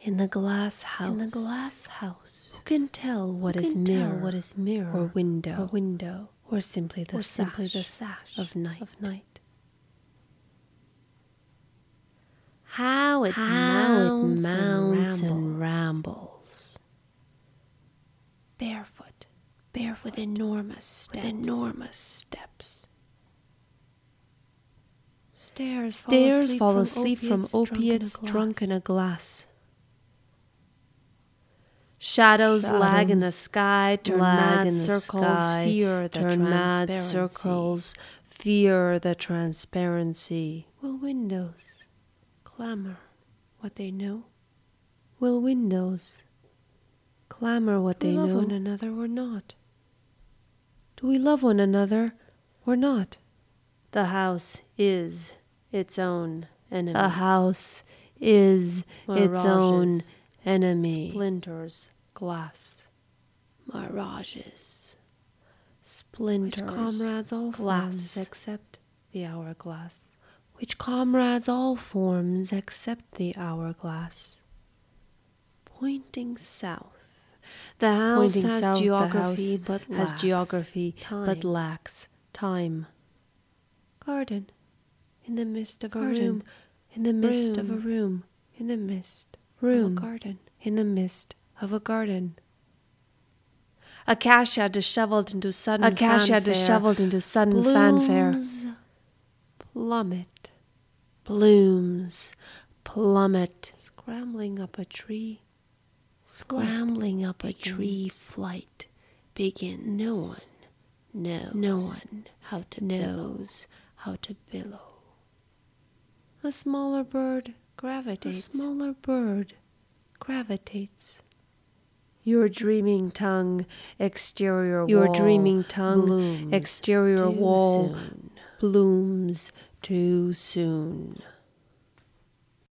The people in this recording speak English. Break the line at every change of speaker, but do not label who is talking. in the glass house.
in the glass house.
Who can tell what
Who
is
can
mirror
tell what is mirror
or window
or window
or simply the
or simply the
sash
sash
of night?
Of night. How it mounts, and rambles,
rambles.
barefoot, barefoot with enormous steps, enormous steps. Stairs,
Stairs fall asleep from opiates drunk in
glass.
a glass. Shadows, lag in the
Shadows
sky, turn
lag
mad
in the
circles,
sky,
fear the
turn mad
transparency.
circles,
fear the transparency.
Will windows clamor what they know?
Will windows clamor what
They
they
love
know?
one another or not?
Do we love one another or not? The house is its own enemy. A house is its own
Mirages,
enemy.
Splinters,
glass,
mirages,
splinters,
which comrades all
glass,
forms
except the hourglass. Which comrades all forms except the hourglass.
pointing south.
The house
Pointing
has
south, the
geography,
house
but
has
lacks
geography, but
time. lacks time.
Garden, in the midst of a
Garden.
room,
In the midst of a
Room.
room,
in the midst
Room.
of a garden.
in the midst of a garden. Acacia disheveled into sudden
Acacia
fanfare.
disheveled
into sudden
Blooms plummet,
Blooms plummet.
scrambling up a tree.
Scrambling up a tree
begins.
flight begins.
No one knows.
No one
how to
knows how to billow.
A smaller bird
A
gravitates.
smaller bird
gravitates.
Your dreaming tongue, exterior
Your
wall.
dreaming tongue,
blooms
exterior
too
wall
soon. blooms too soon.